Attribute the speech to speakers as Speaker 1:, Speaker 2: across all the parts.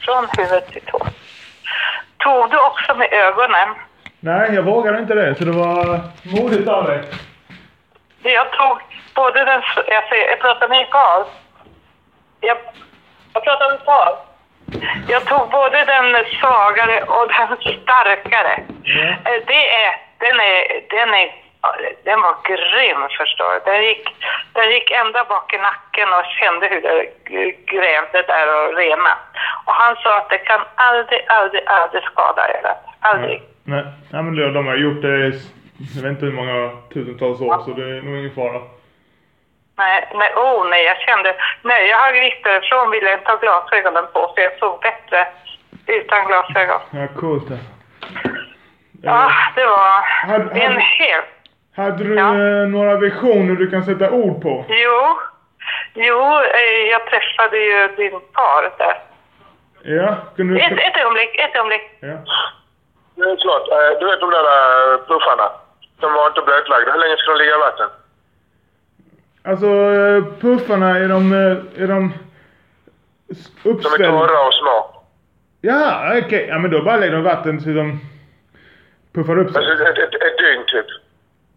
Speaker 1: från huvud till tå. Tog du också med ögonen?
Speaker 2: Nej, jag vågade inte det, så det var modigt av dig.
Speaker 1: Jag tog både den... Jag, ser, jag pratar med Karl. Jag, jag pratar med Karl. Jag tog både den svagare och den starkare.
Speaker 2: Mm.
Speaker 1: Eh, Det är, den, är, den, är, den var grym, förstår du. Den gick, den gick ända bak i nacken och kände hur det g- grävde där och rena. Och han sa att det kan aldrig, aldrig, aldrig skada er. Aldrig.
Speaker 2: Nej, nej men det, de har gjort det i, jag vet inte hur många tusentals år, så det är nog ingen fara.
Speaker 1: Nej, nej, oh nej, jag kände, nej jag har glitt därifrån ville jag inte ha glasögonen på för jag såg bättre utan glasögon.
Speaker 2: Ja, coolt. det.
Speaker 1: Ja,
Speaker 2: Eh,
Speaker 1: det var
Speaker 2: Hade-
Speaker 1: det är en
Speaker 2: hade-
Speaker 1: helt...
Speaker 2: Hade du
Speaker 1: Ja.
Speaker 2: eh, några visioner du kan sätta ord på?
Speaker 1: Jo, jo, eh, jag träffade ju din par där.
Speaker 2: Ja, kunde du...
Speaker 1: Ett, ett ögonblick, ett ögonblick.
Speaker 2: Ja.
Speaker 3: Det är klart. Eh, Du vet de där eh, puffarna? De var inte blötlagda. Hur länge ska de ligga i vatten?
Speaker 2: Alltså, eh, puffarna, är de, eh, är de s-
Speaker 3: De är
Speaker 2: uppställda?
Speaker 3: torra och små.
Speaker 2: Ja, okej. Ja, men då bara lägger de vatten så de puffar upp sig.
Speaker 3: Alltså ett, ett, ett dygn typ.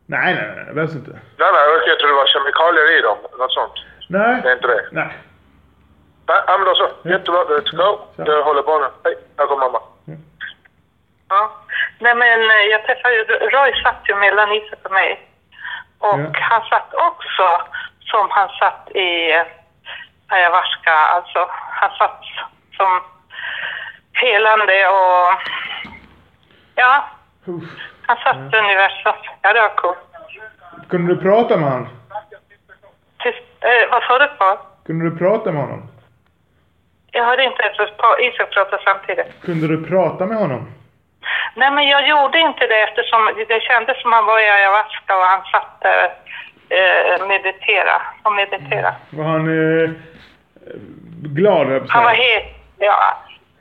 Speaker 2: Nej, nej, nej, det behövs inte.
Speaker 3: Nej, nej, okej, jag tror det var kemikalier i dem. Något sånt.
Speaker 2: Nej,
Speaker 3: Det är inte det.
Speaker 2: nej.
Speaker 3: Nej, ja, men då så. Jättebra. Let's go. Jag håller barnen. Hej, här kommer mamma.
Speaker 1: Ja. Nej men eh, jag träffade ju, Roy satt ju mellan Isak och mig. Och
Speaker 2: Ja.
Speaker 1: han satt också som han satt i eh, ayahuasca, alltså han satt som helande och ja,
Speaker 2: Uff.
Speaker 1: han satt i universum. Ja det var coolt.
Speaker 2: Kunde du prata med han?
Speaker 1: Tyst, eh, vad sa du på?
Speaker 2: Kunde du prata med honom?
Speaker 1: Jag hörde inte ens på Isak prata samtidigt.
Speaker 2: Kunde du prata med honom?
Speaker 1: Nej, men jag gjorde inte det eftersom det kändes som han var i ayahuasca och han satt där eh, meditera och meditera.
Speaker 2: Var han eh, glad, höll jag på att
Speaker 1: Han var
Speaker 2: säga.
Speaker 1: helt, ja,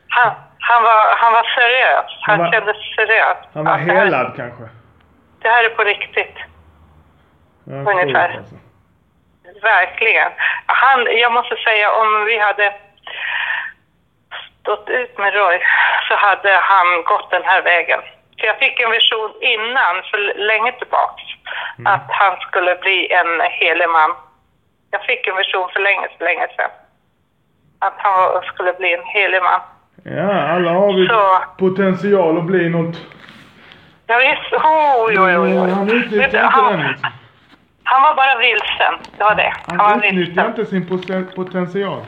Speaker 1: han, han, var, han var seriös. Han,
Speaker 2: Han var-
Speaker 1: kändes seriös.
Speaker 2: Han var
Speaker 1: Att det här-
Speaker 2: helad kanske?
Speaker 1: Det här är på riktigt.
Speaker 2: Ja,
Speaker 1: Ungefär.
Speaker 2: coolt, alltså.
Speaker 1: Verkligen. Han, jag måste säga, om vi hade stått ut med Roy så hade han gått den här vägen. För jag fick en vision innan, för länge tillbaks,
Speaker 2: Mm.
Speaker 1: att han skulle bli en helig man. Jag fick en vision för länge, för länge sedan. Att han var- skulle bli en helig man.
Speaker 2: Ja, alla har vi
Speaker 1: Så.
Speaker 2: potential att bli något. Eh,
Speaker 1: Jag visste, oh, jo, jo, jo.
Speaker 2: Han utnyttjar
Speaker 1: Vet du,
Speaker 2: inte den
Speaker 1: han,
Speaker 2: liksom.
Speaker 1: han var bara vilsen, det var det. Han var
Speaker 2: Han utnyttjar
Speaker 1: vilsen.
Speaker 2: inte sin poten- potential.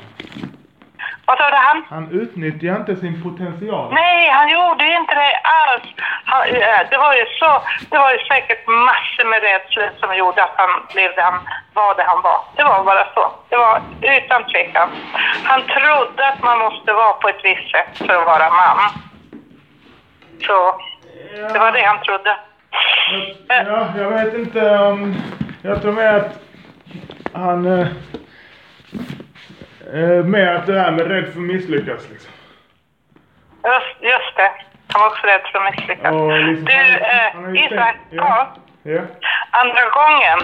Speaker 1: Vad sa du, han?
Speaker 2: Han utnyttjar inte sin potential.
Speaker 1: Nej, han gjorde ju inte det alls. Han, eh, det, var ju så, det var ju säkert massor med rädslor som gjorde att han blev det han var det han var. Det var bara så. Det var utan tvekan. Han trodde att man måste vara på ett visst sätt för att vara man. Så det var det han trodde. Äh.
Speaker 2: Ja, jag vet inte om... Jag tror med att han... Eh, eh, med att det här med rädd för att misslyckas liksom.
Speaker 1: Just, just det. Han var också rädd för att misslyckas.
Speaker 2: Och liksom
Speaker 1: Du,
Speaker 2: han- han har
Speaker 1: eh,
Speaker 2: ju
Speaker 1: Isak.
Speaker 2: tänkt-
Speaker 1: Ja.
Speaker 2: Ja. ja.
Speaker 1: Andra gången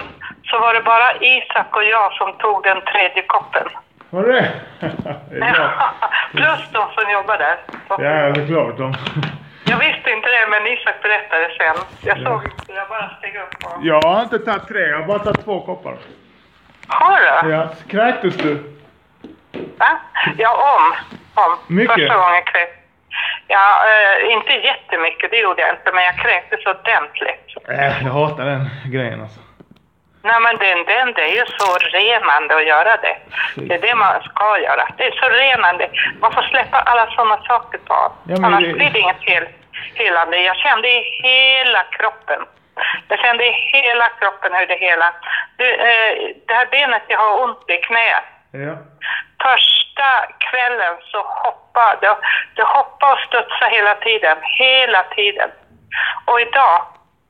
Speaker 1: så var det bara Isak och jag som tog den tredje koppen.
Speaker 2: Var det det? det? är bra.
Speaker 1: Plus de som jobbar där.
Speaker 2: Ja, såklart. De...
Speaker 1: Jag visste inte det, men Isak berättade sen. Jag såg inte, jag bara steg upp och...
Speaker 2: Jag har inte tagit tre, jag har bara tagit två koppar.
Speaker 1: Har du?
Speaker 2: Ja. Kräktes du?
Speaker 1: Va? Ja, om. om.
Speaker 2: Mycket?
Speaker 1: Första gången kräktes Ja, eh, inte jättemycket, det gjorde jag inte, men jag kräktes ordentligt.
Speaker 2: Äh, jag hatar den grejen alltså.
Speaker 1: Nej, men den, den, det är ju så renande att göra det. Det är det man ska göra. Det är så renande. Man får släppa alla sådana saker på.
Speaker 2: Ja, men
Speaker 1: Annars
Speaker 2: det-
Speaker 1: blir det inget hel, helande. Jag kände i hela kroppen. Jag kände i hela kroppen hur det hela... Du, eh, det här benet jag har ont i, knät.
Speaker 2: Ja.
Speaker 1: Första kvällen så hoppade det, det hoppade och studsade hela tiden, hela tiden. Och idag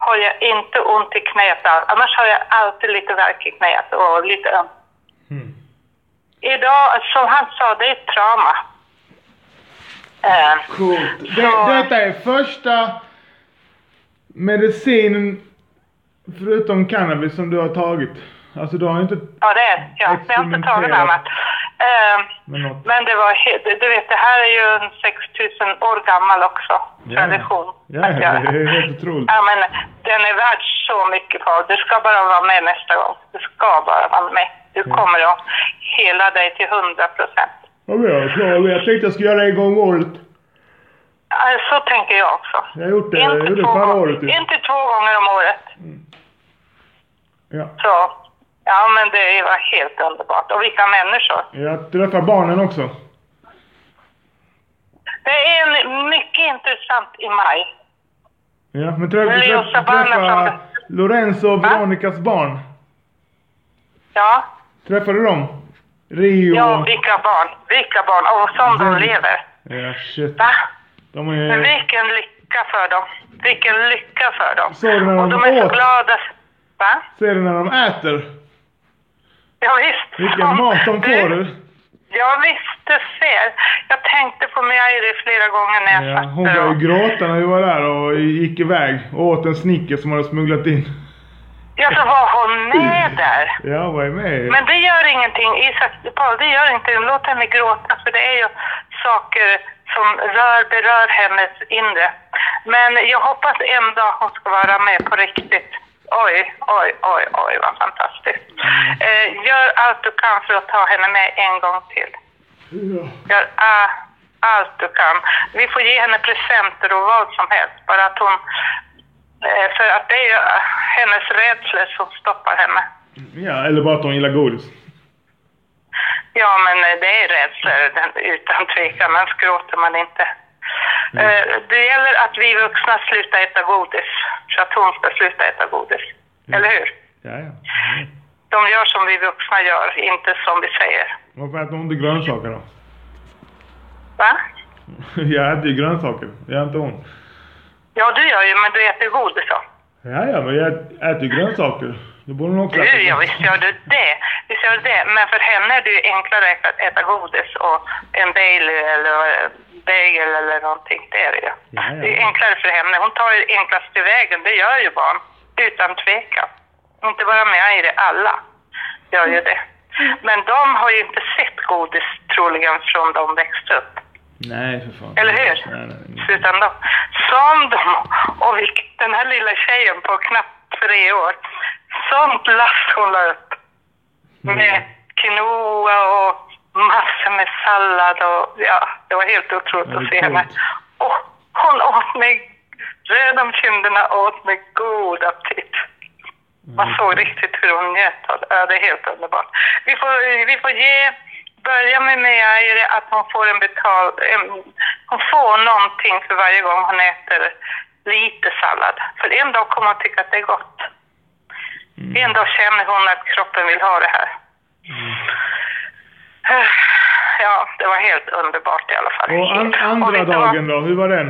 Speaker 1: har jag inte ont i knät alls. Annars har jag alltid lite värk i knät och lite ömt.
Speaker 2: Mm.
Speaker 1: Idag, som han sa, det är ett trauma. Eh,
Speaker 2: Coolt. Det,
Speaker 1: Så-
Speaker 2: detta är första medicinen förutom cannabis som du har tagit. Alltså du har inte...
Speaker 1: ja, det är ja, men jag har inte tagit något annat. Eh,
Speaker 2: med något.
Speaker 1: Men det var he- du vet, det här är ju en 6000 år gammal också, tradition.
Speaker 2: Ja,
Speaker 1: att
Speaker 2: ja,
Speaker 1: göra.
Speaker 2: det är helt otroligt.
Speaker 1: Ja, men den är värd så mycket far. Du ska bara vara med nästa gång. Du ska bara vara med. Du
Speaker 2: Mm.
Speaker 1: kommer att hela dig till 100 procent.
Speaker 2: Vad bra, bra. Jag tänkte jag skulle göra det en gång om året.
Speaker 1: Så tänker jag också.
Speaker 2: Jag har gjort det, jag
Speaker 1: Inte
Speaker 2: gjorde det
Speaker 1: två,
Speaker 2: förra
Speaker 1: gång-
Speaker 2: året. ju.
Speaker 1: inte två gånger om året.
Speaker 2: Ja.
Speaker 1: Så. Ja, men det var helt underbart. Och vilka människor.
Speaker 2: Jag träffar barnen också.
Speaker 1: Det är en- mycket intressant i maj.
Speaker 2: Ja, men träff,
Speaker 1: Men det är
Speaker 2: träff,
Speaker 1: också barnen
Speaker 2: träffa
Speaker 1: som-
Speaker 2: Lorenzo och
Speaker 1: Va?
Speaker 2: Veronicas barn.
Speaker 1: Ja,
Speaker 2: Träffar du dem? Rio
Speaker 1: ja
Speaker 2: och...
Speaker 1: vilka barn. Vilka barn. Och som de
Speaker 2: Väldigt.
Speaker 1: lever.
Speaker 2: Ja, shit.
Speaker 1: Va?
Speaker 2: De
Speaker 1: Men
Speaker 2: är...
Speaker 1: vilken lycka för dem. Vilken lycka för dem.
Speaker 2: Såg du när
Speaker 1: Och
Speaker 2: de
Speaker 1: de är så
Speaker 2: åt?
Speaker 1: glada. Va?
Speaker 2: Ser du när de äter?
Speaker 1: Ja, visst.
Speaker 2: Vilken
Speaker 1: Ja,
Speaker 2: mat de
Speaker 1: du-
Speaker 2: får! du.
Speaker 1: Ja, visst, du ser. Jag tänkte på Mary flera gånger när jag
Speaker 2: Ja,
Speaker 1: satt
Speaker 2: Eh, hon
Speaker 1: där.
Speaker 2: började
Speaker 1: och-
Speaker 2: ju gråta när vi var där och gick iväg och åt en snicker som hade smugglat in.
Speaker 1: Ja, så var hon med där.
Speaker 2: Ja, vad är med?
Speaker 1: Men det gör ingenting, Isak, Paul, det gör ingenting. Låt henne gråta, för det är ju saker som rör, berör hennes inre. Men jag hoppas en dag hon ska vara med på riktigt. Oj, oj, oj, oj, vad fantastiskt. Eh, gör allt du kan för att ta henne med en gång till.
Speaker 2: Ja.
Speaker 1: Gör a- allt du kan. Vi får ge henne presenter och vad som helst. Bara att hon... Eh, för att det är ju eh, hennes rädslor som stoppar henne.
Speaker 2: ja, eller bara att hon gillar godis.
Speaker 1: Ja, men eh, det är rädslor den- utan tvekan. Annars gråter man inte. Eh, Det gäller att vi vuxna slutar äta godis så att hon ska sluta äta godis. Eller hur?
Speaker 2: Ja, ja. Mm.
Speaker 1: De gör som vi vuxna gör, inte som vi säger.
Speaker 2: Varför äter hon inte grönsaker då?
Speaker 1: Va?
Speaker 2: Jag äter ju grönsaker, jag inte hon.
Speaker 1: Ja, du gör ju, men du äter godis då.
Speaker 2: Ja, ja, men jag äter ju grönsaker. Det borde hon också
Speaker 1: Du, ja, visst gör du det. Visst gör du det. Men för henne är det ju enklare att äta godis och en Bailey eller eh, bagel eller någonting. Det är det ju.
Speaker 2: Ja, ja.
Speaker 1: Det är enklare för henne. Hon tar ju enklaste vägen. Det gör ju barn. Utan tvekan. Inte bara med i det. Alla gör ju det. Men de har ju inte sett godis troligen från de växte upp.
Speaker 2: Nej, för fan.
Speaker 1: Eller hur?
Speaker 2: Nej, nej, nej.
Speaker 1: Utan de, som de, och vilk- den här lilla tjejen på knappt tre år, sånt lass hon la upp.
Speaker 2: Mm.
Speaker 1: Med quinoa och massor med sallad och ja, det var helt otroligt
Speaker 2: Ja, det är
Speaker 1: att se henne.
Speaker 2: coolt.
Speaker 1: Och hon åt med röd om kinderna och åt med god aptit.
Speaker 2: Mm.
Speaker 1: Man såg riktigt hur hon njöt av det. Ja, det är helt underbart. Vi får, vi får ge, börja med Mejaire att hon får en betal... En, hon får någonting för varje gång hon äter lite sallad. För en dag kommer hon tycka att det är gott.
Speaker 2: Mm.
Speaker 1: En dag känner hon att kroppen vill ha det här. Eh, Ja, det var helt underbart i alla fall.
Speaker 2: Och an-
Speaker 1: Och
Speaker 2: andra
Speaker 1: vet du vad?
Speaker 2: dagen då, hur var den?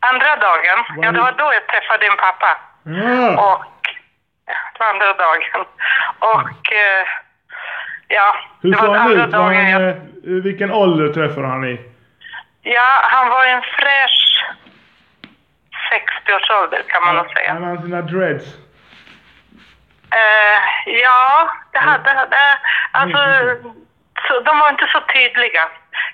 Speaker 1: Andra dagen?
Speaker 2: Vad
Speaker 1: Ja, det var då jag träffade din pappa.
Speaker 2: Ja,
Speaker 1: Och ja, det var andra dagen. Och eh, ja,
Speaker 2: hur
Speaker 1: det var
Speaker 2: såg han
Speaker 1: andra
Speaker 2: ut? Var
Speaker 1: dagen.
Speaker 2: han,
Speaker 1: jag,
Speaker 2: eh, vilken ålder träffade han i?
Speaker 1: ja, han var en fräsch 60-årsålder kan man nog säga.
Speaker 2: Han hade sina dreads.
Speaker 1: Eh, ja, det hade... eh, alltså, så, de var inte så tydliga.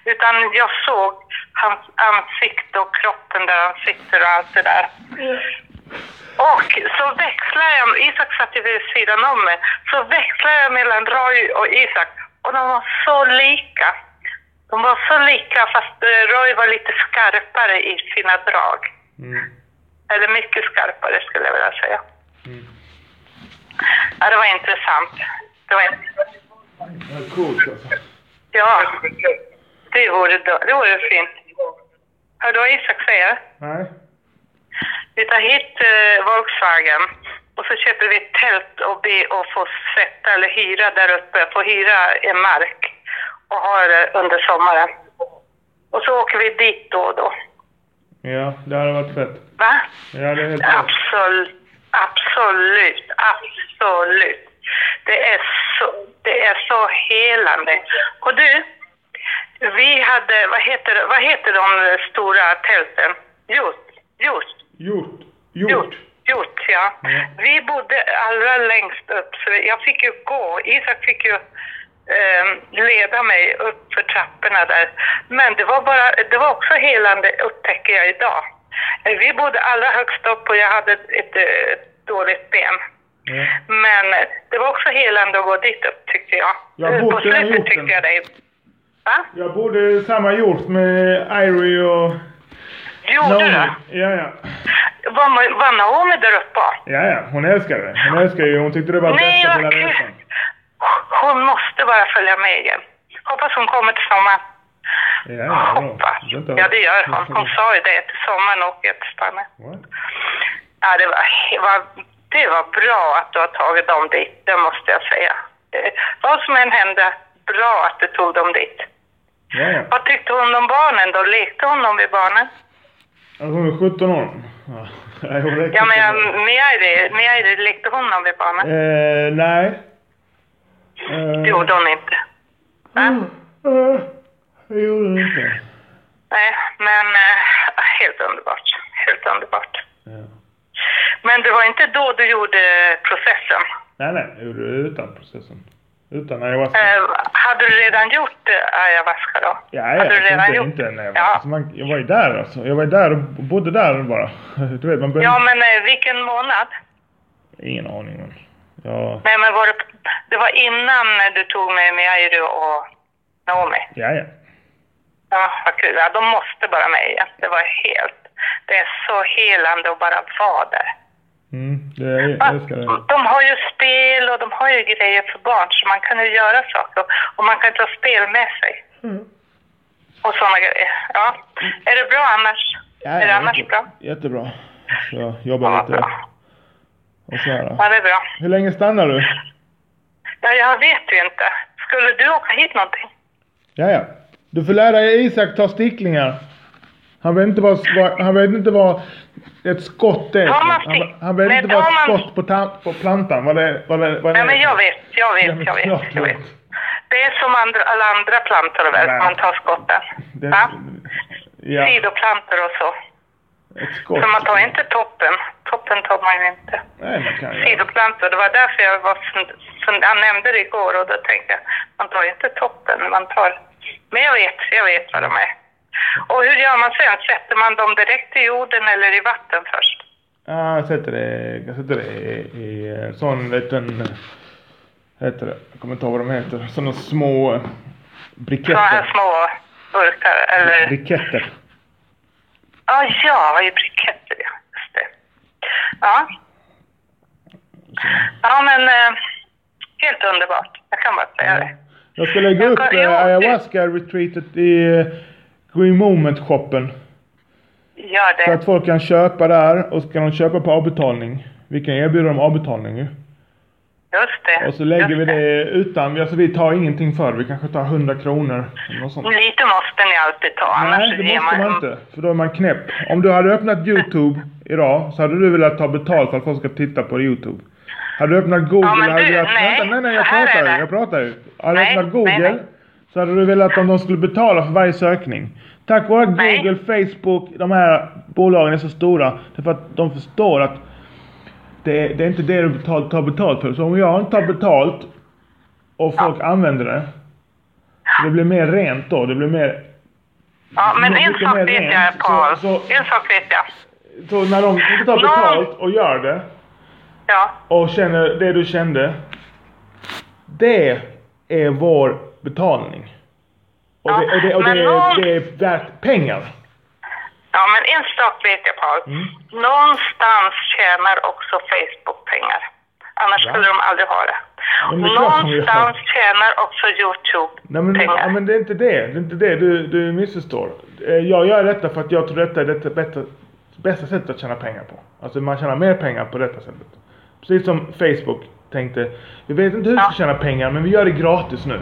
Speaker 1: Utan jag såg hans ansikte och kroppen där han sitter och allt det där. Och så växlar jag, Isak satt ju vid sidan om mig, så växlar jag mellan Roy och Isak och de var så lika. De var så lika fast eh, Roy var lite skarpare i sina drag.
Speaker 2: Mm.
Speaker 1: Eller mycket skarpare skulle jag vilja säga.
Speaker 2: Mm.
Speaker 1: Ja, det var intressant. Det var intressant.
Speaker 2: Ja, coolt alltså.
Speaker 1: Ja, det vore, då- det vore fint. Hör du vad Isak säger?
Speaker 2: Nej.
Speaker 1: Vi tar hit eh, Volkswagen och så köper vi ett tält och ber att få sätta eller hyra där uppe, få hyra en mark och ha det under sommaren. Och så åker vi dit då och då.
Speaker 2: Ja, det hade varit fett.
Speaker 1: Va?
Speaker 2: Ja, det är helt rätt.
Speaker 1: Absolut, absolut, absolut. Det är så, det är så helande. Och du, vi hade, vad heter, vad heter de stora tälten? Just, just.
Speaker 2: Gjort.
Speaker 1: Gjort.
Speaker 2: Gjort.
Speaker 1: Gjort, ja.
Speaker 2: Ja.
Speaker 1: Vi bodde allra längst upp, så jag fick ju gå. Isak fick ju eh, leda mig upp för trapporna där. Men det var, bara, det var också helande, upptäcker jag idag. Eh, Vi bodde allra högst upp och jag hade ett eh, dåligt ben.
Speaker 2: Ja.
Speaker 1: Men eh, det var också helande att gå dit upp, tyckte jag.
Speaker 2: Jag
Speaker 1: Eh, På
Speaker 2: borde ha gjort
Speaker 1: slutet
Speaker 2: den.
Speaker 1: tyckte jag det. Va?
Speaker 2: Jag bodde i samma jord med Irie och
Speaker 1: Gjorde du?
Speaker 2: Ja, ja.
Speaker 1: Var, Ma- var Naomi där uppe?
Speaker 2: Ja, ja. Hon älskade det. Hon älskade ju. Hon tyckte det var
Speaker 1: Nej,
Speaker 2: bästa på hela
Speaker 1: vad kul!
Speaker 2: resan.
Speaker 1: Hon måste bara följa med igen. Hoppas hon kommer till sommaren.
Speaker 2: Ja, ja. bra.
Speaker 1: Hoppas.
Speaker 2: Det är inte-
Speaker 1: Ja, det gör hon. Hon sa ju det. Till sommaren åker jag till Spanien.
Speaker 2: What?
Speaker 1: Ja, det var, det var, det var bra att du har tagit dem dit, det måste jag säga. Eh, Vad som än hände, bra att du tog dem dit.
Speaker 2: Ja, ja.
Speaker 1: Vad tyckte hon om barnen då? Lekte hon dem med barnen?
Speaker 2: Alltså, hon är 17 år. Ja, Nej, hon räcker
Speaker 1: Ja, men jag,
Speaker 2: inte.
Speaker 1: Meiri, Meiri, lekte hon dem med barnen?
Speaker 2: Eh, nej. Eh,
Speaker 1: Det gjorde hon inte.
Speaker 2: eh, eh, Det gjorde hon inte.
Speaker 1: Nej, men eh, helt underbart. Helt underbart.
Speaker 2: Ja.
Speaker 1: Men det var inte då du gjorde processen?
Speaker 2: Nej, nej. Jag gjorde det utan processen. Utan ayahuasca.
Speaker 1: Eh, hade du redan gjort eh, ayahuasca då?
Speaker 2: Ja, ja,
Speaker 1: hade du redan
Speaker 2: inte,
Speaker 1: gjort?
Speaker 2: inte när jag var,
Speaker 1: ja.
Speaker 2: alltså man, jag var ju där alltså. Jag var ju där och bodde där bara. Du vet, man behöver...
Speaker 1: ja, men eh, vilken månad?
Speaker 2: Ingen aning om. Ja,
Speaker 1: Nej, men var det, det var innan eh, du tog med Miairu och Naomi?
Speaker 2: ja, ja.
Speaker 1: Ja, vad kul. Ja, de måste bara med igen. Det var helt... Det är så helande att bara vara där.
Speaker 2: Mm, det, jag älskar det.
Speaker 1: De har ju spel och de har ju grejer för barn, så man kan ju göra saker. Och man kan ta spel med sig
Speaker 2: Mm.
Speaker 1: och sådana grejer. Ja. Är det bra annars?
Speaker 2: Ja,
Speaker 1: är det
Speaker 2: ja,
Speaker 1: annars
Speaker 2: jätte-
Speaker 1: bra?
Speaker 2: Jättebra. Så jag
Speaker 1: Ja,
Speaker 2: jobbar lite
Speaker 1: bra.
Speaker 2: och så här.
Speaker 1: Ja, det är bra.
Speaker 2: Hur länge stannar du?
Speaker 1: Ja, jag vet ju inte. Skulle du åka hit någonting?
Speaker 2: Ja, ja. Du får lära dig Isak ta sticklingar. Han vet inte vad, vad, han vet inte vad ett skott är.
Speaker 1: Tar man
Speaker 2: Han,
Speaker 1: stick-
Speaker 2: han vet
Speaker 1: Nej,
Speaker 2: inte vad
Speaker 1: tar man-
Speaker 2: skott på, tam, på plantan, vad det, vad det, vad det
Speaker 1: Nej, men
Speaker 2: är.
Speaker 1: jag vet, jag
Speaker 2: Ja,
Speaker 1: vet,
Speaker 2: men
Speaker 1: jag
Speaker 2: klart
Speaker 1: vet.
Speaker 2: du
Speaker 1: Jag vet.
Speaker 2: vet.
Speaker 1: Det är som andra, alla andra plantor väl,
Speaker 2: Nej.
Speaker 1: man tar skotten.
Speaker 2: Det,
Speaker 1: Va?
Speaker 2: ja,
Speaker 1: Sidoplantor och så.
Speaker 2: ett skott.
Speaker 1: Så man tar inte toppen. Toppen tar man ju inte.
Speaker 2: Nej, man kan ju.
Speaker 1: Sidoplantor, det var därför jag var fund, fund, han nämnde det igår och då tänkte jag, man tar ju inte toppen, man tar... Men jag vet, jag vet vad de är. Och hur gör man sen? Sätter man dem direkt i jorden eller i vatten först?
Speaker 2: Ja, jag sätter det, jag sätter det i, i en sån liten... eh, Heter det? Jag kommer inte ihåg vad de heter. Såna små eh,
Speaker 1: Sådana här
Speaker 2: briketter.
Speaker 1: små burkar eller...
Speaker 2: Briketter.
Speaker 1: Ja, ja, vad är briketter? ja. Just det. Ja. Ja, men eh, helt underbart. Jag kan bara säga det.
Speaker 2: Jag ska lägga
Speaker 1: Jag
Speaker 2: upp
Speaker 1: kan-
Speaker 2: eh,
Speaker 1: ja, det-
Speaker 2: ayahuasca-retreatet i eh, Green Moment-shoppen.
Speaker 1: Gör
Speaker 2: Så att
Speaker 1: det.
Speaker 2: folk kan köpa där och så kan de köpa på avbetalning. Vi kan erbjuda dem avbetalning ju.
Speaker 1: Just det.
Speaker 2: Och så lägger
Speaker 1: Just
Speaker 2: vi det utan, alltså vi tar ingenting för det. Vi kanske tar 100 kronor eller något sånt.
Speaker 1: Lite måste ni alltid ta, annars
Speaker 2: Nej, det
Speaker 1: ger
Speaker 2: måste
Speaker 1: alltså, man...
Speaker 2: man inte. För då är man knäpp. Om du hade öppnat YouTube idag så hade du velat ta betalt för att folk ska titta på YouTube. Hade du öppnat Google
Speaker 1: Ja, men
Speaker 2: hade
Speaker 1: du,
Speaker 2: du velat...
Speaker 1: nej.
Speaker 2: Vänta, nej, nej, jag
Speaker 1: Så här
Speaker 2: pratar
Speaker 1: är
Speaker 2: ju.
Speaker 1: det.
Speaker 2: Jag pratar ju. Hade du
Speaker 1: Nej,
Speaker 2: öppnat
Speaker 1: nej,
Speaker 2: Google
Speaker 1: nej.
Speaker 2: så hade du velat om de skulle betala för varje sökning. Tack vare att
Speaker 1: Nej.
Speaker 2: Google, Facebook, de här bolagen är så stora. Det är för att de förstår att det är, det är inte det du betal, tar betalt för. Så om jag inte tar betalt och folk använder det. Det blir mer rent då. Det blir mer
Speaker 1: Ja, men
Speaker 2: Lite
Speaker 1: en sak
Speaker 2: mer
Speaker 1: vet jag,
Speaker 2: rent,
Speaker 1: Paul.
Speaker 2: så- så-
Speaker 1: En sak vet jag.
Speaker 2: Så när de inte tar betalt och gör det
Speaker 1: Ja,
Speaker 2: och känner det du kände. Det är vår betalning. Och det, och det, och det,
Speaker 1: men någon-
Speaker 2: är, det är värt pengar.
Speaker 1: ja men en sak vet jag, Paul.
Speaker 2: Mm.
Speaker 1: Någonstans tjänar också Facebook pengar. Annars
Speaker 2: Va?
Speaker 1: skulle de aldrig ha det.
Speaker 2: men det är klart de gör.
Speaker 1: Någonstans tjänar också Youtube
Speaker 2: Nej men,
Speaker 1: pengar.
Speaker 2: ja, men det är inte det. Det är inte det du, du missförstår. Eh, Jag gör detta för att jag tror detta är det bästa, bästa sättet att tjäna pengar på. Alltså man tjänar mer pengar på detta sättet. Precis som Facebook tänkte. Vi vet inte hur vi ska
Speaker 1: Ja.
Speaker 2: tjäna pengar men vi gör det gratis nu.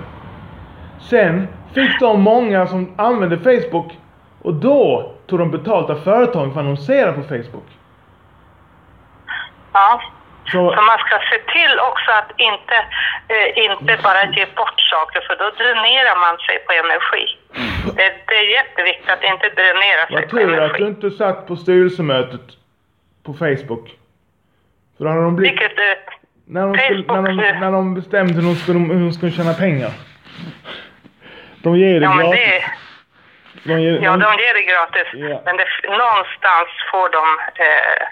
Speaker 2: Sen fick de många som använde Facebook och då tog de betalt av företagen för att annonsera på Facebook.
Speaker 1: Ja.
Speaker 2: Så,
Speaker 1: Så man ska se till också att inte, eh,
Speaker 2: Mm.
Speaker 1: inte bara ge bort saker för då dränerar man sig på energi. Det, det är jätteviktigt att inte dränera sig
Speaker 2: Mm. jag
Speaker 1: på
Speaker 2: tror att
Speaker 1: energi.
Speaker 2: du inte satt på styrelsemötet på Facebook. För då hade de blivit
Speaker 1: Vilket, eh,
Speaker 2: När de, skulle, när, de,
Speaker 1: Facebook, eh.
Speaker 2: när de bestämde hur de skulle, hur de skulle tjäna pengar. De ger dig
Speaker 1: Ja, men
Speaker 2: gratis.
Speaker 1: det,
Speaker 2: De ger,
Speaker 1: ja, de ger det gratis.
Speaker 2: Ja.
Speaker 1: Men det, någonstans får de eh,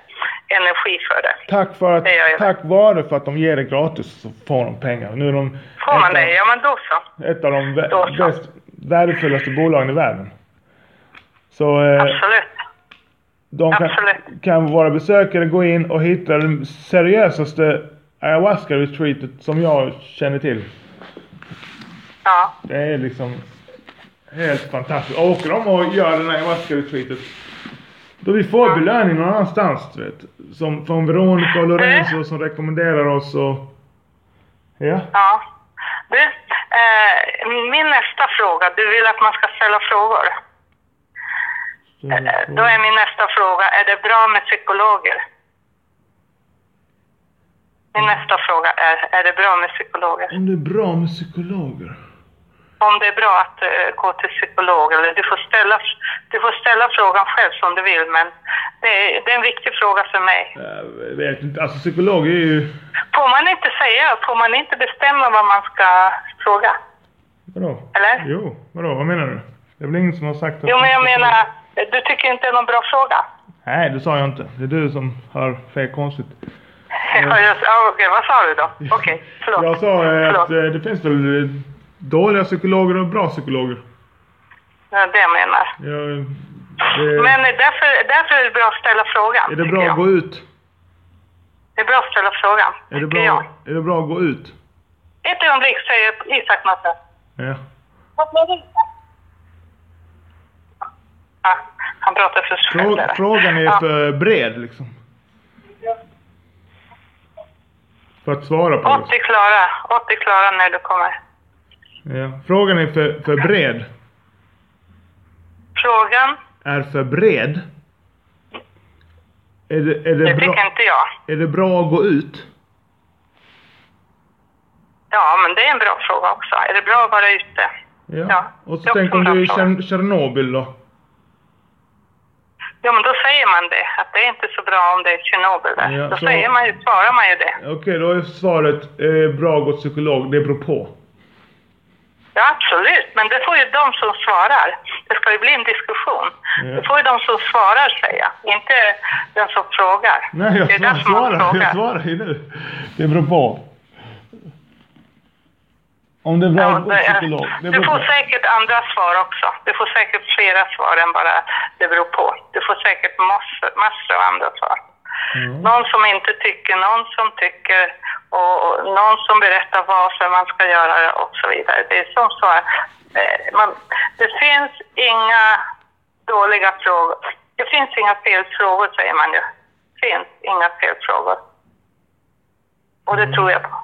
Speaker 1: energi för det.
Speaker 2: Tack, för att,
Speaker 1: Det gör jag.
Speaker 2: tack vare för att de ger det gratis så får de pengar. Nu är de
Speaker 1: Får man
Speaker 2: ett, av,
Speaker 1: det, ja men då så.
Speaker 2: ett av de vä-
Speaker 1: Då så.
Speaker 2: bäst, värdefullaste bolagen i världen. Så eh,
Speaker 1: Absolut.
Speaker 2: de kan,
Speaker 1: absolut.
Speaker 2: kan våra besökare gå in och hitta det seriösaste ayahuasca retreatet som jag känner till.
Speaker 1: Ja.
Speaker 2: Det är liksom helt fantastiskt. Och Åker de och gör den här ayahuasca-retreatet då vi får belöning någon annanstans, du vet. Som från Veronica och Lorenzo som rekommenderar oss och... Ja.
Speaker 1: Ja. Du, eh, min nästa fråga. Du vill att man ska ställa frågor.
Speaker 2: Mm,
Speaker 1: Eh, då är min nästa fråga, är det bra med psykologer? Min nästa fråga är, är det bra med psykologer?
Speaker 2: Om det är bra med psykologer?
Speaker 1: Om det är bra att eh, gå till psykolog eller du får, ställa, du får ställa frågan själv som du vill men det är, det är en viktig fråga för mig.
Speaker 2: Jag vet inte. Alltså psykologer är ju...
Speaker 1: Får man inte säga, får man inte bestämma vad man ska fråga?
Speaker 2: Vadå?
Speaker 1: Eller?
Speaker 2: Jo, vadå? Vad menar du? Det är väl ingen som har sagt att...
Speaker 1: Jo men jag menar, du tycker inte det är någon bra fråga?
Speaker 2: Nej, det sa jag inte. Det är du som hör fel konstigt.
Speaker 1: Ja, jag, ja, okej, vad sa du då? Okej, förlåt.
Speaker 2: Mm. Jag sa eh,
Speaker 1: förlåt.
Speaker 2: att eh, det finns väl eh, dåliga psykologer och bra psykologer.
Speaker 1: Det är det jag menar.
Speaker 2: Jag, det,
Speaker 1: Men eh, därför, därför är det bra att ställa frågan.
Speaker 2: är det
Speaker 1: tycker
Speaker 2: bra
Speaker 1: jag.
Speaker 2: att gå ut?
Speaker 1: Det är bra att ställa frågan,
Speaker 2: Är det
Speaker 1: tycker
Speaker 2: bra,
Speaker 1: jag.
Speaker 2: är det bra att gå ut?
Speaker 1: Ett ögonblick säger Isak något. nu.
Speaker 2: Ja.
Speaker 1: Vad blev det? Ja, Ah, han pratar för sig själv.
Speaker 2: Frå,
Speaker 1: där.
Speaker 2: frågan är
Speaker 1: Ja.
Speaker 2: för bred liksom. För att svara på.
Speaker 1: 80 klara. 80 klara när du kommer.
Speaker 2: det. Ja. Frågan är för, för bred.
Speaker 1: Frågan,
Speaker 2: Är för bred. Är det,
Speaker 1: det
Speaker 2: är, det
Speaker 1: tycker
Speaker 2: bra,
Speaker 1: inte jag.
Speaker 2: är det bra att gå ut?
Speaker 1: Ja, men det är en bra fråga också. Är det bra att vara ute? Ja,
Speaker 2: Och så
Speaker 1: det är
Speaker 2: tänk
Speaker 1: också
Speaker 2: om
Speaker 1: en bra
Speaker 2: du är i
Speaker 1: fråga.
Speaker 2: Tjern- Tjernobyl då?
Speaker 1: Ja, men då säger man det. Att det är inte så bra om det är Tjernobyl där.
Speaker 2: Ja,
Speaker 1: då
Speaker 2: så-
Speaker 1: säger man ju, svarar man ju det.
Speaker 2: Okej, då är svaret eh, bra att gå till psykolog. Det beror på.
Speaker 1: Ja, absolut. Men det får ju de som svarar. Det ska ju bli en diskussion.
Speaker 2: Ja.
Speaker 1: Det får ju de som svarar säga, inte den som frågar.
Speaker 2: Nej, jag
Speaker 1: det är
Speaker 2: svar,
Speaker 1: därför man
Speaker 2: svarar.
Speaker 1: frågar.
Speaker 2: Jag svarar ju nu. Det beror på. Om det är bra
Speaker 1: Ja,
Speaker 2: att gå
Speaker 1: det
Speaker 2: till
Speaker 1: är-
Speaker 2: psykolog. Det
Speaker 1: du
Speaker 2: beror
Speaker 1: får
Speaker 2: på.
Speaker 1: säkert andra svar också. Du får säkert flera svar än bara det beror på. Du får säkert massor, massor av andra svar.
Speaker 2: Mm.
Speaker 1: Någon som inte tycker, någon som tycker och, och någon som berättar varför man ska göra det och så vidare. Det är som så här, eh, man, det finns inga dåliga frågor. Det finns inga felfrågor säger man ju. Det finns inga felfrågor. Och det tror jag på.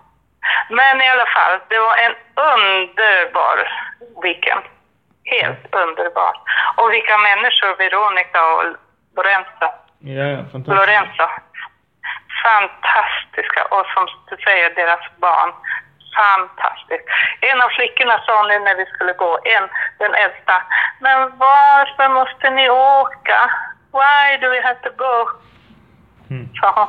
Speaker 1: Men i alla fall, det var en underbar weekend. Helt underbar. Och vilka människor, Veronica och Lorenzo.
Speaker 2: Ja, ja, fantastiskt.
Speaker 1: Lorenzo. Fantastiska. Och som du säger, deras barn. Fantastiskt. En av flickorna sa nu när vi skulle gå, en, den äldsta, men varför måste ni åka? Why do we have to go?
Speaker 2: Mm.
Speaker 1: sa hon.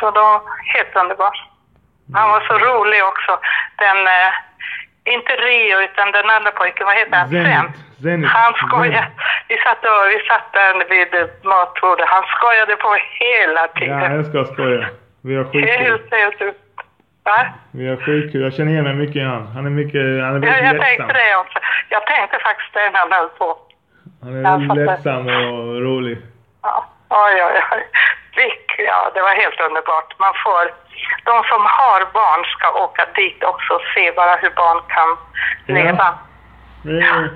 Speaker 1: Så då, helt underbart. Han var så rolig också. Den, eh, inte Rio, utan den andra pojken, vad heter han? Sam.
Speaker 2: Zenit. Zenit.
Speaker 1: Han skojade. Vi satt, och, vi satt där vid eh, matbordet. Han skojade på hela
Speaker 2: Ja,
Speaker 1: tiden.
Speaker 2: jag ska skoja. Vi har skitkul.
Speaker 1: helt, helt ut. Va?
Speaker 2: Vi har skitkul. Jag känner igen mig mycket i han. Han är mycket... Han är
Speaker 1: Jag, jag
Speaker 2: väldigt
Speaker 1: tänkte
Speaker 2: lättsam.
Speaker 1: det också. Jag tänkte faktiskt det när han höll på.
Speaker 2: Han är
Speaker 1: Ja,
Speaker 2: väldigt
Speaker 1: fattar.
Speaker 2: lättsam och rolig.
Speaker 1: Ja, oj, oj, oj. Vilk, ja, det var helt underbart. Man får, de som har barn ska åka dit också och se bara hur barn kan
Speaker 2: Ja. Mm.
Speaker 1: leva.
Speaker 2: Det är,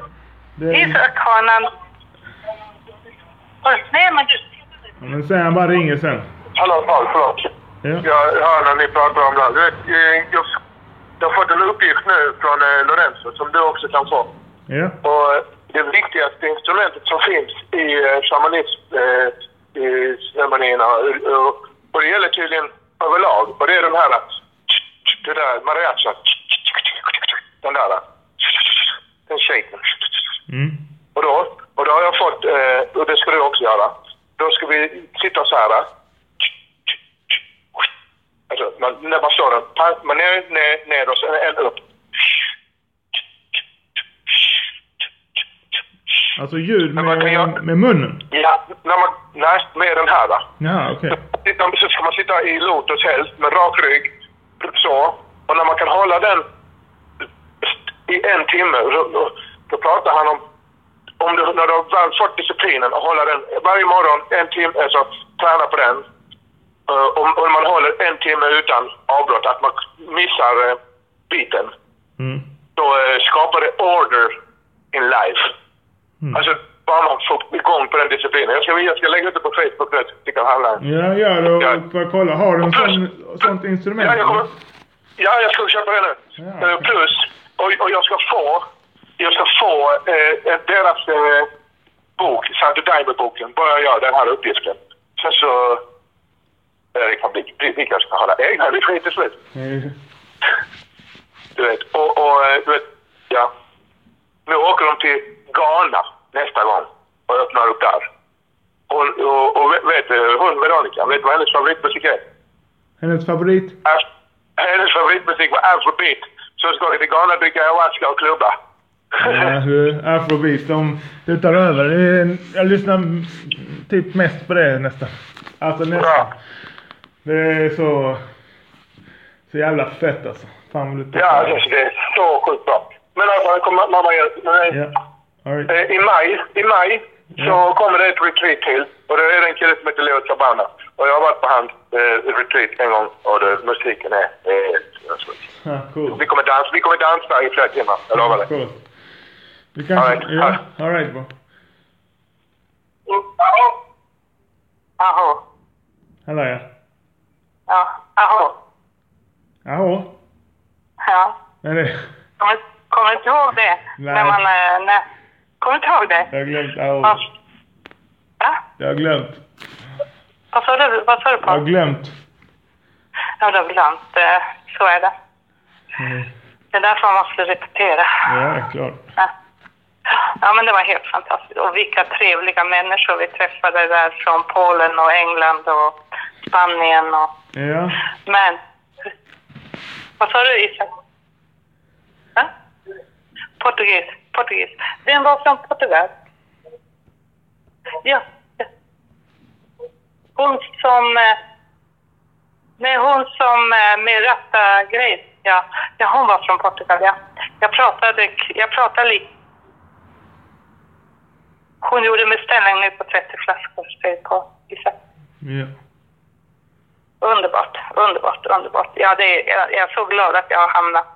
Speaker 2: det är,
Speaker 1: Isak har en annan... Oj, Nej, men du...
Speaker 2: Ja, men sen, han bara ringer sen.
Speaker 3: Hallå, Paul, förlåt.
Speaker 2: Ja.
Speaker 3: Jag hör när ni pratar om det här. Du vet, eh, jag, jag har fått en uppgift nu från eh, Lorenzo som du också kan få.
Speaker 2: Ja.
Speaker 3: Och eh, det viktigaste instrumentet som finns i eh, shamanismceremonierna, eh, och det gäller tydligen överlag, och det är den här, eh, det där mariachan, den där, eh, den shaken.
Speaker 2: Mm.
Speaker 3: Och då, och då har jag fått, eh, och det ska du också göra. Då ska vi sitta så här. eh. Alltså, man, när man slår den, pa- man ner, ner, ner och sen en upp.
Speaker 2: Alltså ljud
Speaker 3: Men vad kan
Speaker 2: med,
Speaker 3: jag-
Speaker 2: med munnen?
Speaker 3: Ja, när man, nej, med den här. eh, Då.
Speaker 2: Ja, okej.
Speaker 3: Sitta- Så ska man sitta i lotus helst med rak rygg. Så. Och när man kan hålla den i en timme. Då, då, då pratar han om, om du, när du har väl fått disciplinen och hålla den varje morgon en timme. Alltså träna på den. Eh, Om, om man håller en timme utan avbrott. Att man missar eh, biten.
Speaker 2: Mm.
Speaker 3: Då eh, skapar det order in life.
Speaker 2: Mm.
Speaker 3: Alltså bara man får igång på den disciplinen. Jag ska, jag ska lägga ut det på Facebook nu. Stickan Halland.
Speaker 2: Ja, gör det
Speaker 3: Ja.
Speaker 2: och bara kolla. Har du en sån, sånt instrument?
Speaker 3: Ja, jag kommer... Ja, jag ska köpa det nu.
Speaker 2: Ja.
Speaker 3: Eh, Plus, och, och jag ska få... Jag ska få eh, deras eh, bok, Santo Daime-boken, bara jag gör den här uppgiften. Sen så... Eh, det kan bli, vi, vi kanske kan hålla egna, vi skiter i slut.
Speaker 2: Nej.
Speaker 3: Du vet, och, och eh, du vet, ja. Nu åker de till Ghana nästa gång och öppnar upp där. Och, och, och vet- vet du, hon Veronica, vet du vad hennes favoritmusik är?
Speaker 2: Hennes favorit?
Speaker 3: Af- Alltså, Hennes favoritmusik var afrobeat. Så ska vi till Ghana, dricka ayahuasca och klubba.
Speaker 2: Ja, det är Afrobeat. De, det tar över. Det är en- Jag lyssnar m- typ mest på det nästan. Alltså nästan.
Speaker 3: ja.
Speaker 2: Det är så... Så jävla fett alltså. Fan vad du tycker.
Speaker 3: ja, alltså, det är så sjukt bra. Men alltså, här kommer mamma igen. Men,
Speaker 2: Ja. All right.
Speaker 3: eh, I maj, i maj så kommer det ett retreat till. Och det är en kille som heter Leo Tabana. Och jag har varit på hans eh, retreat en gång och det, musiken är... Eh, alltså,
Speaker 2: Ja, cool.
Speaker 3: vi kommer dansa, vi kommer dansa i flera timmar, jag lovar det.
Speaker 2: Cool. Du kanske...
Speaker 3: All right.
Speaker 2: Ja, all right bro.
Speaker 3: Jaha. Jaha.
Speaker 2: Hallå ja.
Speaker 1: Ja, jaha.
Speaker 2: Jaha?
Speaker 1: Ja.
Speaker 2: Är det...
Speaker 1: Kommer, kommer inte ihåg det?
Speaker 2: Nej.
Speaker 1: När man, eh, när, kommer inte ihåg det?
Speaker 2: Jag har glömt aho.
Speaker 1: Ja. Va?
Speaker 2: Jag har glömt.
Speaker 1: Vad sa du, vad sa du
Speaker 2: Jag har
Speaker 1: på?
Speaker 2: glömt.
Speaker 1: Ja, det har glömt. eh, Så är det.
Speaker 2: Mm.
Speaker 1: Det är därför man måste repetera.
Speaker 2: Ja, klart.
Speaker 1: Ja. Ja, men det var helt fantastiskt. Och vilka trevliga människor vi träffade där från Polen och England och Spanien och...
Speaker 2: Ja.
Speaker 1: Men... Vad sa du, Isak? Va? Portugis. Portugis. Vem var från Portugal? Ja. ja. Hon som... eh, Nej, hon som eh, med ratta grej. Ja. ja, hon var från Portugal, ja. Jag pratade, jag pratade lite. Hon gjorde beställning nu på 30 flaskor, säger på Isak.
Speaker 2: Ja.
Speaker 1: Underbart, underbart, underbart. Ja, det är, jag, jag är så glad att jag har hamnat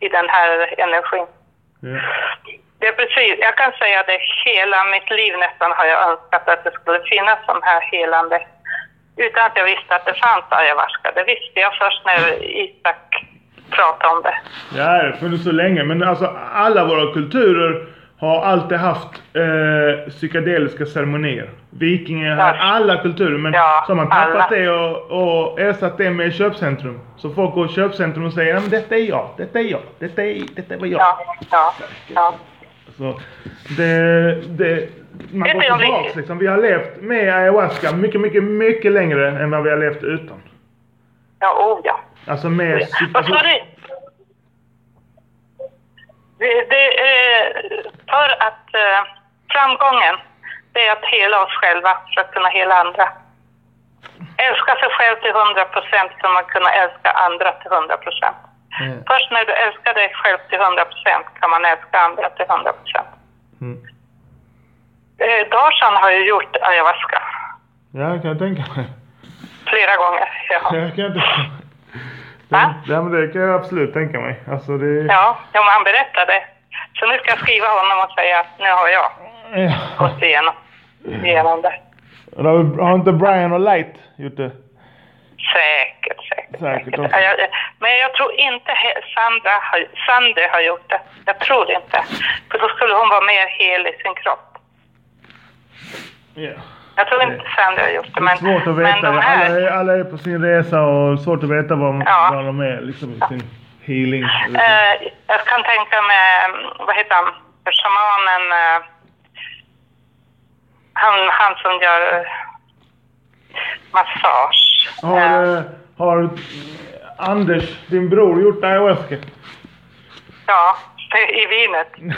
Speaker 1: i den här energin.
Speaker 2: Ja.
Speaker 1: Det är precis, jag kan säga det, hela mitt liv nästan har jag önskat att det skulle finnas sån här helande. Utan att jag visste att det fanns ayahuasca. Det visste jag först när Isak pratade om det.
Speaker 2: Ja, det har funnits så länge. Men alltså alla våra kulturer har alltid haft eh, psykedeliska ceremonier. Vikingar,
Speaker 1: Ja.
Speaker 2: alla kulturer. Men
Speaker 1: Ja,
Speaker 2: så har man tappat
Speaker 1: alla.
Speaker 2: det och, och ersatt det med köpcentrum. Så folk går i köpcentrum och säger "Ja, men detta är jag, detta är jag, detta är, detta var jag.
Speaker 1: Ja, ja, ja.
Speaker 2: Så det, det, man
Speaker 1: Vet
Speaker 2: går
Speaker 1: du, jag
Speaker 2: tillbaka
Speaker 1: vet-
Speaker 2: liksom. Vi har levt med ayahuasca mycket, mycket, mycket längre än vad vi har levt utan.
Speaker 1: Ja, oh ja.
Speaker 2: Alltså med...
Speaker 1: Vad sa du? Det, det, eh, för att eh, framgången, det är att hela oss själva för att kunna hela andra. Älska sig själv till 100 procent kan man kunna älska andra till 100 procent.
Speaker 2: Mm.
Speaker 1: Först när du älskar dig själv till 100 procent kan man älska andra till 100 procent.
Speaker 2: Mm.
Speaker 1: Eh, Darshan har ju gjort ayahuasca
Speaker 2: Ja, kan jag tänka mig.
Speaker 1: flera gånger. Ja,
Speaker 2: Jag kan inte...
Speaker 1: Va?
Speaker 2: Ja, men det kan jag absolut tänka mig. Alltså det...
Speaker 1: ja jo, men han berättade. Så nu ska jag skriva honom och säga att nu har jag.
Speaker 2: Ja. Mm.
Speaker 1: gått igenom, igenom det.
Speaker 2: Har har inte Brian och Light gjort det?
Speaker 1: Säkert, säkert.
Speaker 2: Säkert
Speaker 1: säkert.
Speaker 2: också.
Speaker 1: Ja, jag, men jag tror inte he- Sandra har, Sandy har gjort det. Jag tror inte. För då skulle hon vara mer hel i sin kropp.
Speaker 2: Ja.
Speaker 1: Jag tror inte Sandy har gjort det.
Speaker 2: Eh, Det är
Speaker 1: Men,
Speaker 2: svårt att
Speaker 1: men
Speaker 2: veta.
Speaker 1: de
Speaker 2: Alla,
Speaker 1: här...
Speaker 2: är, alla är på sin resa och svårt att veta var,
Speaker 1: Ja.
Speaker 2: var de är liksom i sin healing.
Speaker 1: Eh, jag kan tänka mig, mm, vad heter han, shamanen, eh, han, han som gör eh, massage. Eh,
Speaker 2: Har, eh, har Anders, din bror, gjort ayahuasca?
Speaker 1: Ja, i, i vinet.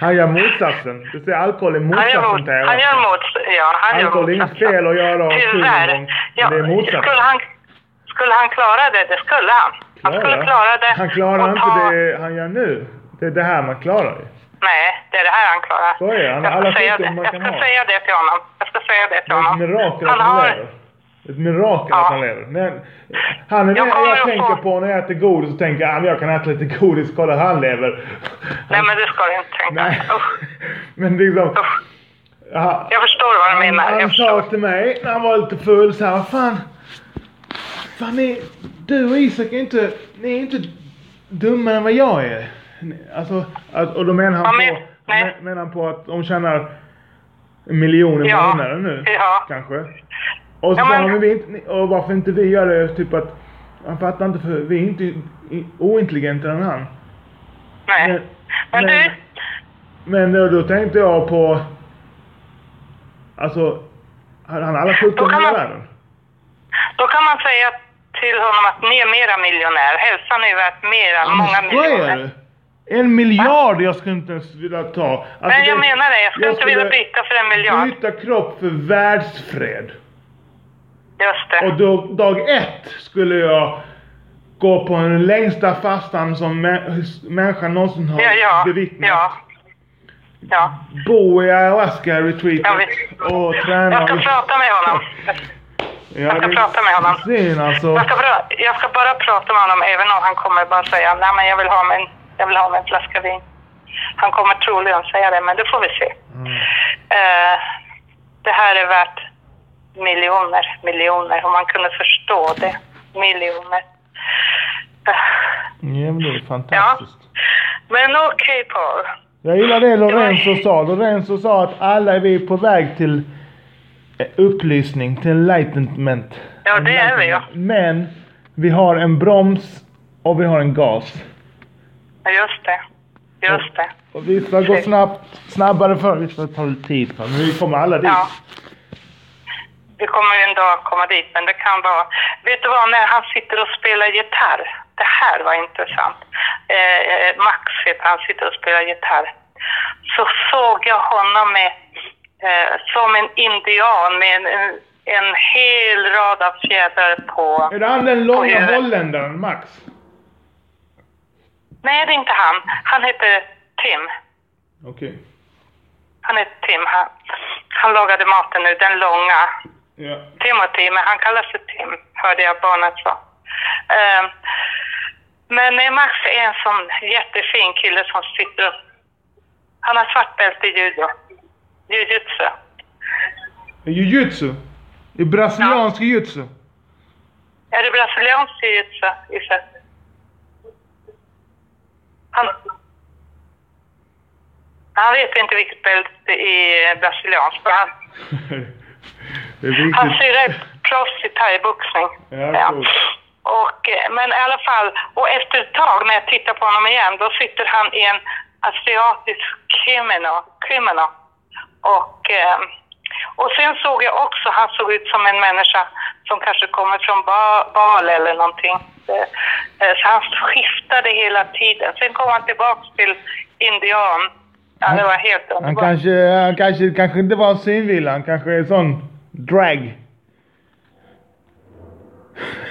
Speaker 2: han gör motsatsen. Du ser alkohol är
Speaker 1: Han gör,
Speaker 2: motsatsen
Speaker 1: mot,
Speaker 2: till heroin.
Speaker 1: han gör mots- ja, han gör
Speaker 2: Alkohol är inget fel att göra och kul någon gång,
Speaker 1: Tyvärr.
Speaker 2: men
Speaker 1: Ja,
Speaker 2: det är motsatsen.
Speaker 1: skulle, han, skulle han klara det? Det skulle han. Han skulle klara det.
Speaker 2: Han klarar
Speaker 1: och
Speaker 2: inte
Speaker 1: ta-
Speaker 2: det han gör nu. Det är det här man klarar ju.
Speaker 1: Nej, det är det här han klarar.
Speaker 2: Så är det. Han har
Speaker 1: jag ska,
Speaker 2: alla
Speaker 1: säga, det.
Speaker 2: sjukdomar man
Speaker 1: jag
Speaker 2: kan
Speaker 1: ska
Speaker 2: ha.
Speaker 1: säga det till honom. Jag ska säga det till
Speaker 2: Det är
Speaker 1: honom.
Speaker 2: ett mirakel
Speaker 1: han
Speaker 2: att han
Speaker 1: har...
Speaker 2: lever. Ett mirakel
Speaker 1: Ja.
Speaker 2: att han lever. Men, han är
Speaker 1: Jag
Speaker 2: jag,
Speaker 1: kommer
Speaker 2: jag
Speaker 1: att
Speaker 2: tänker
Speaker 1: få-
Speaker 2: på när jag äter godis så tänker jag att jag kan äta lite godis, kolla han lever.
Speaker 1: Nej, men det ska du inte tänka.
Speaker 2: Nej.
Speaker 1: Usch,
Speaker 2: Men liksom...
Speaker 1: usch.
Speaker 2: Han,
Speaker 1: Jag förstår vad du menar.
Speaker 2: han
Speaker 1: Jag
Speaker 2: sa
Speaker 1: förstår.
Speaker 2: till mig när han var lite full så här, "Vad fan. Fan ni, du och Isak är inte, ni är inte dummare än vad jag är. Ni- Alltså, att, och då menar han
Speaker 1: Ja,
Speaker 2: på,
Speaker 1: men- nej.
Speaker 2: men, menar han på att de tjänar en miljon i
Speaker 1: Ja.
Speaker 2: månaden nu.
Speaker 1: Ja.
Speaker 2: Kanske. Och så
Speaker 1: Ja,
Speaker 2: sa
Speaker 1: men-
Speaker 2: han, "Men vi är inte, ni- och varför inte vi gör det? Typ att, han fattar inte för vi är inte i- ointelligentare än han.
Speaker 1: Nej.
Speaker 2: Men-
Speaker 1: Men,
Speaker 2: men-
Speaker 1: du,
Speaker 2: Men då, då tänkte jag på... Alltså, han han har alla sjukdomar
Speaker 1: kan
Speaker 2: i
Speaker 1: man-
Speaker 2: världen.
Speaker 1: då kan man säga till honom att ni är mera miljonär. Hälsan är värt mera, många
Speaker 2: Men skojar
Speaker 1: miljoner.
Speaker 2: du? En miljard jag skulle inte ens vilja ta. Alltså,
Speaker 1: Men jag
Speaker 2: det-
Speaker 1: menar det, jag skulle inte vilja byta för en miljard.
Speaker 2: Byta kropp för världsfred.
Speaker 1: Just det.
Speaker 2: Och då, dag ett skulle jag gå på den längsta fastan som mä- människan någonsin har
Speaker 1: Ja, ja.
Speaker 2: bevittnat.
Speaker 1: Ja. ja.
Speaker 2: Bo i ayahuasca
Speaker 1: Ja,
Speaker 2: retreatet
Speaker 1: visst.
Speaker 2: och träna.
Speaker 1: Jag ska prata med honom.
Speaker 2: Ja,
Speaker 1: jag ska
Speaker 2: det-
Speaker 1: prata med honom.
Speaker 2: Syn, alltså.
Speaker 1: Jag ska, bara, jag ska bara prata med honom även om han kommer bara säga nej men jag vill ha mig en, jag vill ha mig en flaska vin. Han kommer troligen säga det men det får vi se.
Speaker 2: Mm.
Speaker 1: Eh, det här är värt miljoner, miljoner. Om man kunde förstå det. Miljoner. Eh,
Speaker 2: Jävligt fantastiskt.
Speaker 1: men okej Paul.
Speaker 2: Jag gillar det Lorenzo sa. Lorenzo sa att alla är vi på väg till eh, upplysning, till enlightenment.
Speaker 1: Ja, det är vi, ja.
Speaker 2: Men vi har en broms och vi har en gas.
Speaker 1: Ja, Just det. Just det.
Speaker 2: Och vissa går snabbt, snabbare för vissa tar lite tid för. Men vi kommer alla dit.
Speaker 1: Ja. Vi kommer ju en dag komma dit, men det kan vara... Vet du vad, när han sitter och spelar gitarr. Det här var intressant. Eh, eh, Max heter han, sitter och spelar gitarr. Så såg jag honom med, eh, som en indian med en, en, en hel rad av fjädrar på...
Speaker 2: Är det han den långa
Speaker 1: Oj, oj, oj.
Speaker 2: holländaren, Max?
Speaker 1: Nej, det är inte han. Han heter Tim.
Speaker 2: Okej.
Speaker 1: Han heter Tim. Han, han lagade maten nu, den långa.
Speaker 2: Ja.
Speaker 1: Timothy, men han kallas för Tim, hörde jag barnet sa. Ehm, men eh, Max är en sån jättefin kille som sitter och... Han har svart bälte i judo. Jujutsu.
Speaker 2: Jujutsu. Det är brasiliansk jujutsu.
Speaker 1: Är det brasiliansk jujutsu, Isse? Han... Han vet inte vilket bälte i eh, brasiliansk, men han,
Speaker 2: det är
Speaker 1: Hans
Speaker 2: viktigt.
Speaker 1: syrra är proffs i thaiboxning.
Speaker 2: Ja, coolt.
Speaker 1: Och, eh, men i alla fall, och efter ett tag när jag tittar på honom igen, då sitter han i en asiatisk kimono. kimono. Och, eh, och sen såg jag också, han såg ut som en människa som kanske kommer från ba, Bal eller någonting. Eh, eh, Så han skiftade hela tiden. Sen kom han tillbaks till indian. Ja, det var helt
Speaker 2: Han
Speaker 1: underbart.
Speaker 2: kanske, han kanske, kanske inte var en synvilla. Han kanske är sån drag.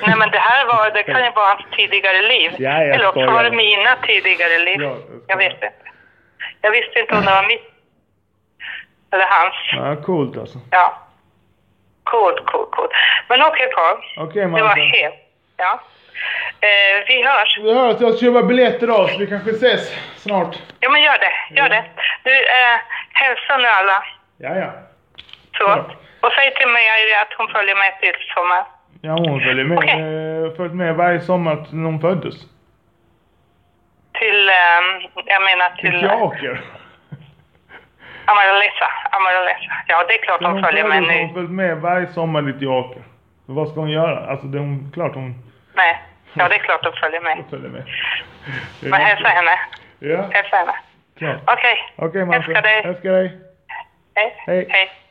Speaker 1: Nej men det här var, det kan ju vara hans tidigare liv.
Speaker 2: Ja, jag
Speaker 1: Eller också
Speaker 2: skojar.
Speaker 1: var det mina tidigare liv.
Speaker 2: Ja, jag
Speaker 1: jag,
Speaker 2: skojar.
Speaker 1: vet inte. Jag visste inte om det var mitt. Eller hans.
Speaker 2: Ja, coolt alltså.
Speaker 1: Ja. Coolt, coolt, coolt. Men okej Paul.
Speaker 2: Okej
Speaker 1: Det var
Speaker 2: Martin.
Speaker 1: helt... Ja. Eh, vi hörs.
Speaker 2: Vi hörs. Jag ska köpa biljetter av så vi kanske ses snart.
Speaker 1: Ja men gör det, gör det. Du, eh, hälsa nu alla.
Speaker 2: Ja, ja.
Speaker 1: Så.
Speaker 2: Ja.
Speaker 1: Och säg till mig att hon följer mig till sommaren.
Speaker 2: Ja, hon följer med.
Speaker 1: Okej.
Speaker 2: eh, Följt med varje sommar till hon föddes.
Speaker 1: Till, eh, jag menar
Speaker 2: Till
Speaker 1: till...
Speaker 2: Teaker.
Speaker 1: Amaralesa, Amaralesa. Ja, det är klart hon följer med
Speaker 2: föddes har
Speaker 1: nu.
Speaker 2: hon följt med varje sommar till Teaker. Så Vad ska hon göra? Alltså, det är hon, klart hon
Speaker 1: Nej, ja det är klart hon följer med.
Speaker 2: följer med.
Speaker 1: Men hälsa henne.
Speaker 2: Ja,
Speaker 1: Hälsa henne.
Speaker 2: klart.
Speaker 1: Okej.
Speaker 2: Okej Martin.
Speaker 1: Älskar dig.
Speaker 2: Älskar dig.
Speaker 1: Hej.
Speaker 2: Hej.
Speaker 1: Hej.